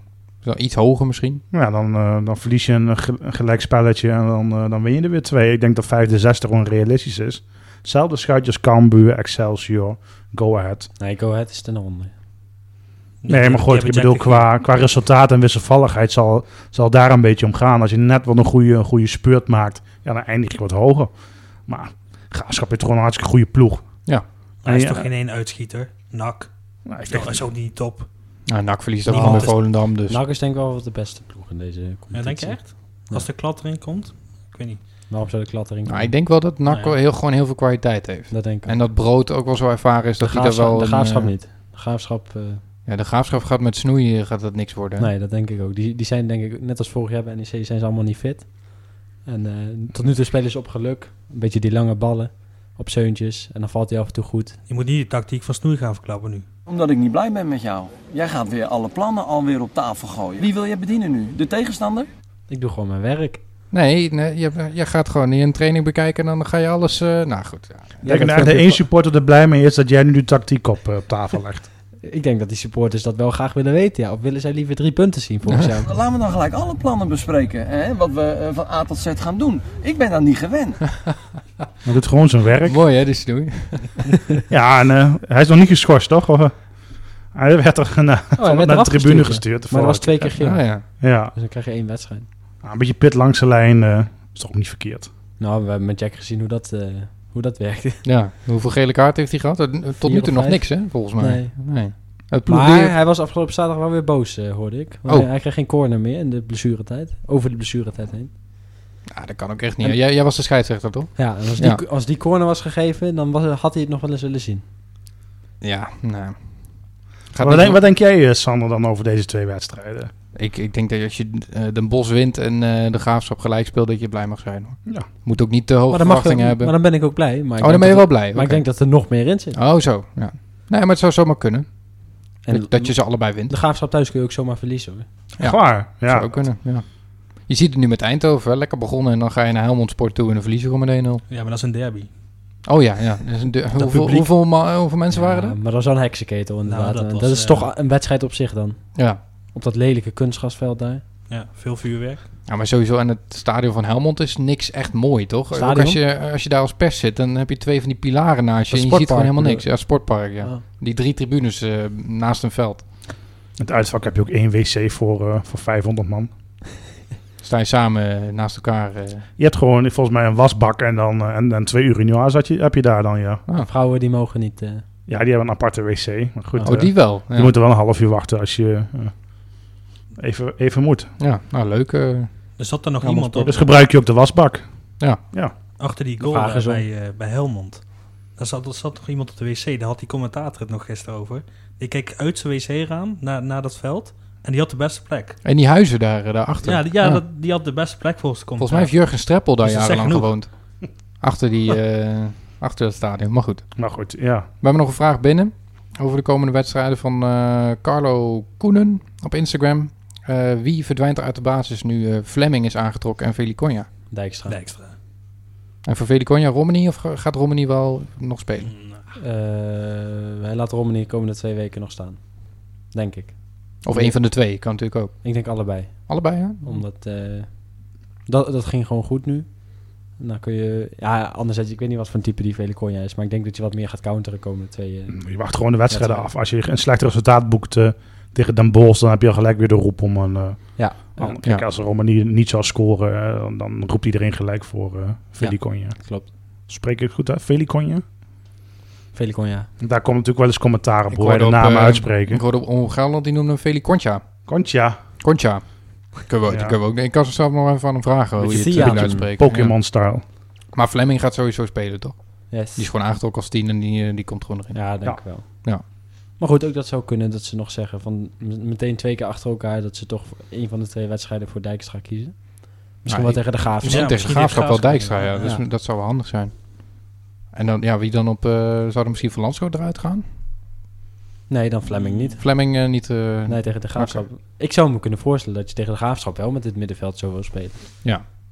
Zo Iets hoger misschien. Nou Ja, dan, eh, dan verlies je een, ge- een gelijk spelletje en dan, eh, dan win je er weer twee. Ik denk dat vijfde, zesde gewoon realistisch is. Hetzelfde schuitje als Cambuur, Excelsior, Go Ahead. Oh. Nee, Go Ahead is ten onder. Nee, maar goed, ik bedoel, qua, qua resultaat en wisselvalligheid zal, zal daar een beetje om gaan. Als je net wel een goede, een goede speurt maakt, ja, dan eindig je wat hoger. Maar Graafschap heeft gewoon een hartstikke goede ploeg. Hij is Ja. toch geen één uitschieter? Nak. Nou, ik Dat denk, is ook niet top. Nou, NAC verliest ook Die van man is- Volendam, dus NAC is Nou, denk ik wel wat de beste ploeg in deze competitie. Ja, denk je echt? Als de klad erin komt? Ik weet niet. Waarom zou de klattering nou, ik denk wel dat NAC Nou ja. wel heel, gewoon heel veel kwaliteit heeft. Dat denk ik. En dat Brood ook wel zo ervaren is de, dat hij daar graafschap, wel... de een, graafschap eh, niet. De graafschap, eh, Ja, de graafschap gaat met snoeien, gaat dat niks worden. hè? nee, dat denk ik ook. Die, die zijn denk ik, net als vorig jaar bij NEC, zijn ze allemaal niet fit. En eh, tot nu toe spelen ze op geluk. Een beetje die lange ballen op zeuntjes. En dan valt hij af en toe goed. Je moet niet de tactiek van snoei gaan verklappen nu. Omdat ik niet blij ben met jou. Jij gaat weer alle plannen alweer op tafel gooien. Wie wil je bedienen nu? De tegenstander? Ik doe gewoon mijn werk. Nee, nee je, je gaat gewoon niet een training bekijken en dan ga je alles... eh, nou goed, ja. ik denk dat de één supporter er blij mee is dat jij nu de tactiek op, eh, op tafel legt. Ik denk dat die supporters dat wel graag willen weten. Ja. Of willen zij liever drie punten zien volgens jou? Oh, Laten we dan gelijk alle plannen bespreken. Hè? Wat we eh, van A tot Z gaan doen. Ik ben daar niet gewend. Hij doet gewoon zijn werk. Mooi hè, dus doei. Ja, en eh, hij is nog niet geschorst, toch? Of, eh, hij werd er eh, naar Oh, hij werd de eraf tribune gestuurd, ja. gestuurd. Oh, Maar dat was twee keer Ja, geel. ja. Ja, Nou, Dus dan krijg je één wedstrijd. een beetje pit langs de lijn eh, is toch ook niet verkeerd. Nou, we hebben met Jack gezien hoe dat, eh, hoe dat werkte. ja. Hoeveel gele kaart heeft hij gehad? Eh, Tot nu of toe nog vijf? niks hè, volgens mij. Nee. nee. Het ploeg die- Maar hij was afgelopen zaterdag wel weer boos, eh, hoorde ik. Want Oh. hij- Hij kreeg geen corner meer in de blessuretijd. Over de blessuretijd heen. Ja, Ah, dat kan ook echt niet. hè. Jij, jij was de scheidsrechter, toch? Ja, en als die, Ja. als die corner was gegeven, dan was, had hij het nog wel eens willen zien. Ja, nou. Gaat Wat niet denk, wat denk jij, eh, Sander, dan over deze twee wedstrijden? Ik, ik denk dat als je eh, Den Bos wint en eh, de Graafschap gelijk speelt, dat je blij mag zijn. Hoor. Ja. Moet ook niet te hoge Maar dan, mag, verwachtingen maar hebben. dan ben ik ook blij. Maar ik oh, dan denk ben je dat wel er- blij. Maar ik oké. denk dat er nog meer in zit. Oh, zo. Ja. Nee, maar het zou zomaar kunnen. En dat, dat je ze allebei wint. De graafschap thuis kun je ook zomaar verliezen hoor. Ja. Echt waar? Ja. Ja. Zou ook kunnen, ja. Je ziet het nu met Eindhoven. hè. Lekker begonnen en dan ga je naar Helmond Sport toe en dan verlies je gewoon met 1-0. Ja, maar dat is een derby. Oh ja, ja. Dat is een de- hoeveel, publiek. hoeveel, ma- hoeveel mensen waren Ja, er? Maar dat was wel een heksenketel inderdaad. dat Eh, dat, was, is eh, toch een wedstrijd op zich dan. Ja. Op dat lelijke kunstgrasveld daar. Ja, veel vuurwerk. ja, maar sowieso aan het stadion van Helmond is niks echt mooi, toch? Ook Stadion? als je, als je daar als pers zit, dan heb je twee van die pilaren naast je Dat en je ziet gewoon sportpark, helemaal bedoel niks. Ja, sportpark, ja. Ah. Die drie tribunes eh, naast een veld. Het uitvak heb je ook één wc voor, eh, voor 500 man. Sta je samen eh, naast elkaar. eh. Je hebt gewoon volgens mij een wasbak en dan eh, en, en twee urinoirs had je, heb je daar dan, ja. Vrouwen die mogen niet. eh, Ja, die hebben een aparte wc. Maar goed, oh, eh, die wel. Ja, je moet er wel een half uur wachten als je eh, even, even moet. Ja, nou leuk. eh. Er zat er nog Helmond iemand Sport. op Dus gebruik je ook de wasbak. achter die goal Vraag daar is om. bij, eh, bij Helmond. Daar zat, daar zat nog iemand op de wc. Daar had die commentator het nog gisteren over. Die keek uit zijn wc-raam naar, naar dat veld. En die had de beste plek. En die huizen daar, eh, daarachter. Ja, die, ja, Dat, die had de beste plek volgens de Volgens mij heeft contract. Jurgen Streppel daar Dus dat jarenlang zegt gewoond. Achter, die, eh, achter dat stadion. Maar goed. Maar goed, ja. We hebben nog een vraag binnen over de komende wedstrijden van eh, Carlo Koenen op Instagram. Eh, wie verdwijnt er uit de basis nu eh, Fleming is aangetrokken en Velikonja? Dijkstra. Dijkstra. En voor Velikonja Romani of ga- gaat Romani wel nog spelen? Eh, hij laat Romani de komende twee weken nog staan. Denk ik. Of een van de twee, kan natuurlijk ook. Ik denk allebei. Allebei, hè? Omdat eh, dat, dat ging gewoon goed nu. En Dan kun je, ja, anderzijds, ik weet niet wat voor een type die Velikonja is, maar ik denk dat je wat meer gaat counteren de komende twee. Mhm. eh. Je wacht gewoon de wedstrijden Ja, af. Als je een slecht resultaat boekt eh, tegen Den Bosch, dan heb je al gelijk weer de roep om een... eh, Ja, ander- kijk, Ja. als Romani niet zou scoren, eh, dan- dan roept iedereen gelijk voor eh Velikonje. klopt. Spreek ik het goed uit? Velikonje? Velikonja. Daar komt natuurlijk wel eens commentaar op Ik hoe wij de hoorde op, namen eh, uitspreken. Ik hoorde op Ongeland, die noemde hem Velikontja. Concha, Concha. Kunnen we, Ja. die kunnen we ook, ik kan ze zelf nog even aan hem vragen hoe Beetje je het Sia. eh, moet uitspreken. Pokémon-style. Ja. Maar Fleming gaat sowieso spelen, toch? Yes. Die is gewoon aangetrokken als tien en die, eh, die komt gewoon erin. Ja, denk Ja. ik wel. Ja. Maar goed, ook dat zou kunnen dat ze nog zeggen van m- meteen twee keer achter elkaar dat ze toch voor één van de twee wedstrijden voor Dijkstra kiezen. Misschien Ah, ik- wel tegen de Graafschap. Misschien Ja, tegen misschien Graafschap wel heeft Graafschap Dijkstra, ja. kunnen, Dus ja. dat zou wel handig zijn. En dan, ja, wie dan op... eh, zou er misschien Van Lanschot eruit gaan? Nee, dan Fleming niet. Fleming eh, niet... eh, Nee, tegen de Graafschap. Ik zou me kunnen voorstellen dat je tegen de Graafschap wel met dit middenveld zo wil spelen.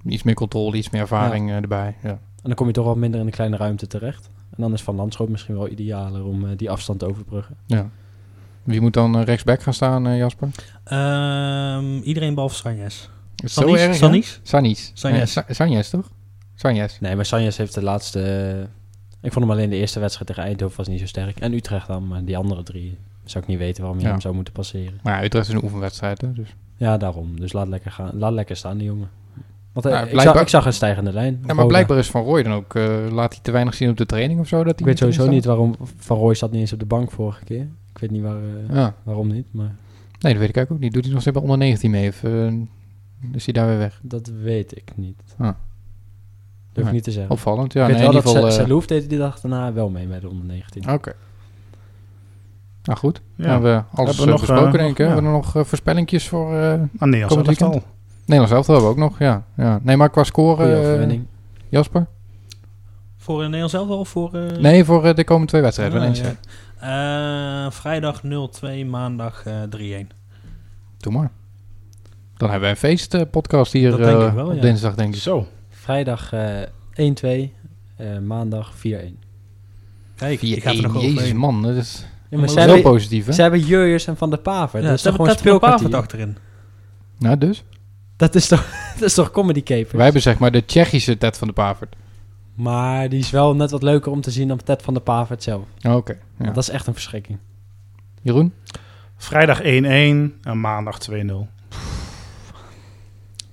Iets meer controle, iets meer ervaring eh, erbij. Ja. En dan kom je toch wel minder in de kleine ruimte terecht. En dan is Van Landschoot misschien wel idealer om eh, die afstand te overbruggen. ja. Wie moet dan eh, rechtsback gaan staan, eh, Jasper? Ehm, iedereen behalve Sanjes. Is het Sanjes? hè? Sanjes? Sanis. Sanjes. Eh, Sa- Sanjes, toch? Sanjes. Nee, maar Sanjes heeft de laatste... eh, ik vond hem alleen de eerste wedstrijd tegen Eindhoven was niet zo sterk. En Utrecht dan, maar die andere drie zou ik niet weten waarom je Ja. hem zou moeten passeren. Maar ja, Utrecht is een oefenwedstrijd, hè, dus... Ja, daarom. Dus laat lekker, gaan. Laat lekker staan, die jongen. Want eh, Ja, ik, zag, Nou, blijkbaar- ik zag een stijgende lijn. Ja, maar Roda. blijkbaar is Van Rooij dan ook... eh, laat hij te weinig zien op de training of zo? Dat Ik hij weet sowieso erin niet waarom... Van Rooij zat niet eens op de bank vorige keer. Ik weet niet waar, eh, staat? Ja. waarom niet, maar Nee, dat weet ik eigenlijk ook niet. Doet hij nog steeds bij onder 19 mee? Of eh, is hij daar weer weg? dat weet ik niet. Ah. Durf ik Nee. niet te zeggen. Opvallend, ja. ik weet nee, in wel ieder geval... dat Sa- eh, Ah, Salouf deed die dag daarna wel mee met de onder 19. Oké. Nou goed, Ja. dan hebben we alles Hebben we eh, nog, besproken eh, denk ik. hè? ja. Hebben we er nog eh, voorspellingjes voor eh Ah, nee, als Komend dat al. weekend? Nederlands elftal hebben we ook nog, ja. ja. Nee, maar qua score, Goeie eh, overwinning. Jasper? Voor eh, Nederland zelf wel? of Voor, eh, Nee, voor eh, de komende twee wedstrijden. Ah, Nee, ja. Eh, vrijdag 0-2, maandag eh 3-1. Doe maar. Dan hebben we een feestpodcast hier Dat denk eh, ik wel, op ja. dinsdag, denk ik. Zo. Vrijdag eh, 1-2, eh, maandag 4-1. Kijk, die 4-1, gaat er nog jezus overheen. man, dat is Ja, maar maar ze ze zij heel hebben, positief hè? ze hebben Jurjus en Van der Paver. Ja, dat is ze toch hebben gewoon Tappen en speelkwartier? Pavert achterin. Nou dus, Dat is toch, dat is toch comedy capers? wij hebben zeg maar de Tsjechische Ted van de Pavert. Maar die is wel net wat leuker om te zien dan Ted van der Pavert zelf. Oh, Oké, ja. Want dat is echt een verschrikking. Jeroen? Vrijdag 1-1 en maandag 2-0. Nou,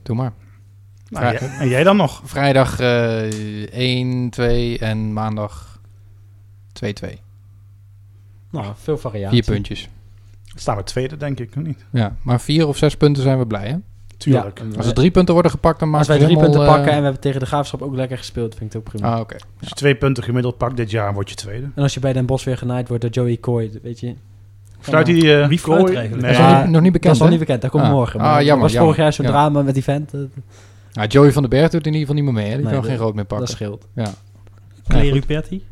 Doe maar. Ja. Nou, jij- En jij dan nog? Vrijdag eh 1, 2 en maandag 2, 2. Nou, veel variatie. Vier puntjes. Staan we tweede, denk ik, of niet? Ja, maar vier of zes punten zijn we blij, hè? Tuurlijk. Ja, Als er drie punten worden gepakt, dan Als maken wij we drie punten helemaal, pakken en eh, we hebben tegen de Graafschap ook lekker gespeeld, vind ik het ook prima. Ah, oké. Als je twee punten gemiddeld pakt dit jaar, word je tweede. En als je bij Den Bos weer genaaid wordt door Joey Coy, weet je. Fluit die... eh, Wie fluit er kooi? eigenlijk? Dat is Nee. nog Ja, niet, nog niet dat bekend, is nog hè? niet bekend, dat komt Ah. morgen. Ah, Maar jammer, dat was jammer. vorig jaar zo'n Ja. drama met die vent. eh, Nou, Joey van den Berg doet in ieder geval niet meer mee, hè? Die Nee, kan dat- geen rood meer dat pakken. scheelt. Clay Ruperti.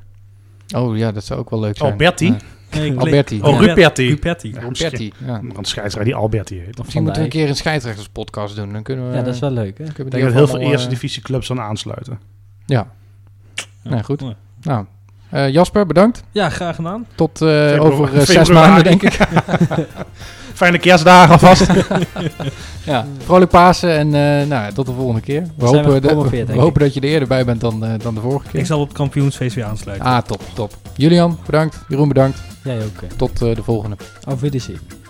Oh ja, dat zou ook wel leuk zijn. Alberti? Ja. Nee, Clay- Alberti. Oh, ja. Ruud. Ruperti. Ruperti. Ja, misschien- Alberti, ja. Nog Een scheidsrechter die Alberti heet. Of Misschien Van moeten we een Dijk. keer een scheidsrechterspodcast doen. Dan kunnen we... Ja, dat is wel leuk, hè? Ik kunnen we denk dat die heel allemaal, veel eerste eh, divisie clubs aan aansluiten. Ja. Nou, goed. Ja. Nou, eh, Jasper, bedankt. Ja, graag gedaan. Tot eh, over eh, zes februari. maanden, denk ik. Fijne kerstdagen alvast. Ja, vrolijk Pasen en eh, nou, tot de volgende keer. We, zijn we hopen, dat, gepromoveerd, we denk ik. hopen dat je er eerder bij bent dan, eh, dan de vorige Ik keer. zal op het kampioensfeest weer aansluiten. Ah, top, top. Julian, bedankt. Jeroen, bedankt. Jij ook. eh. Tot eh, de volgende. Auf Wiedersehen.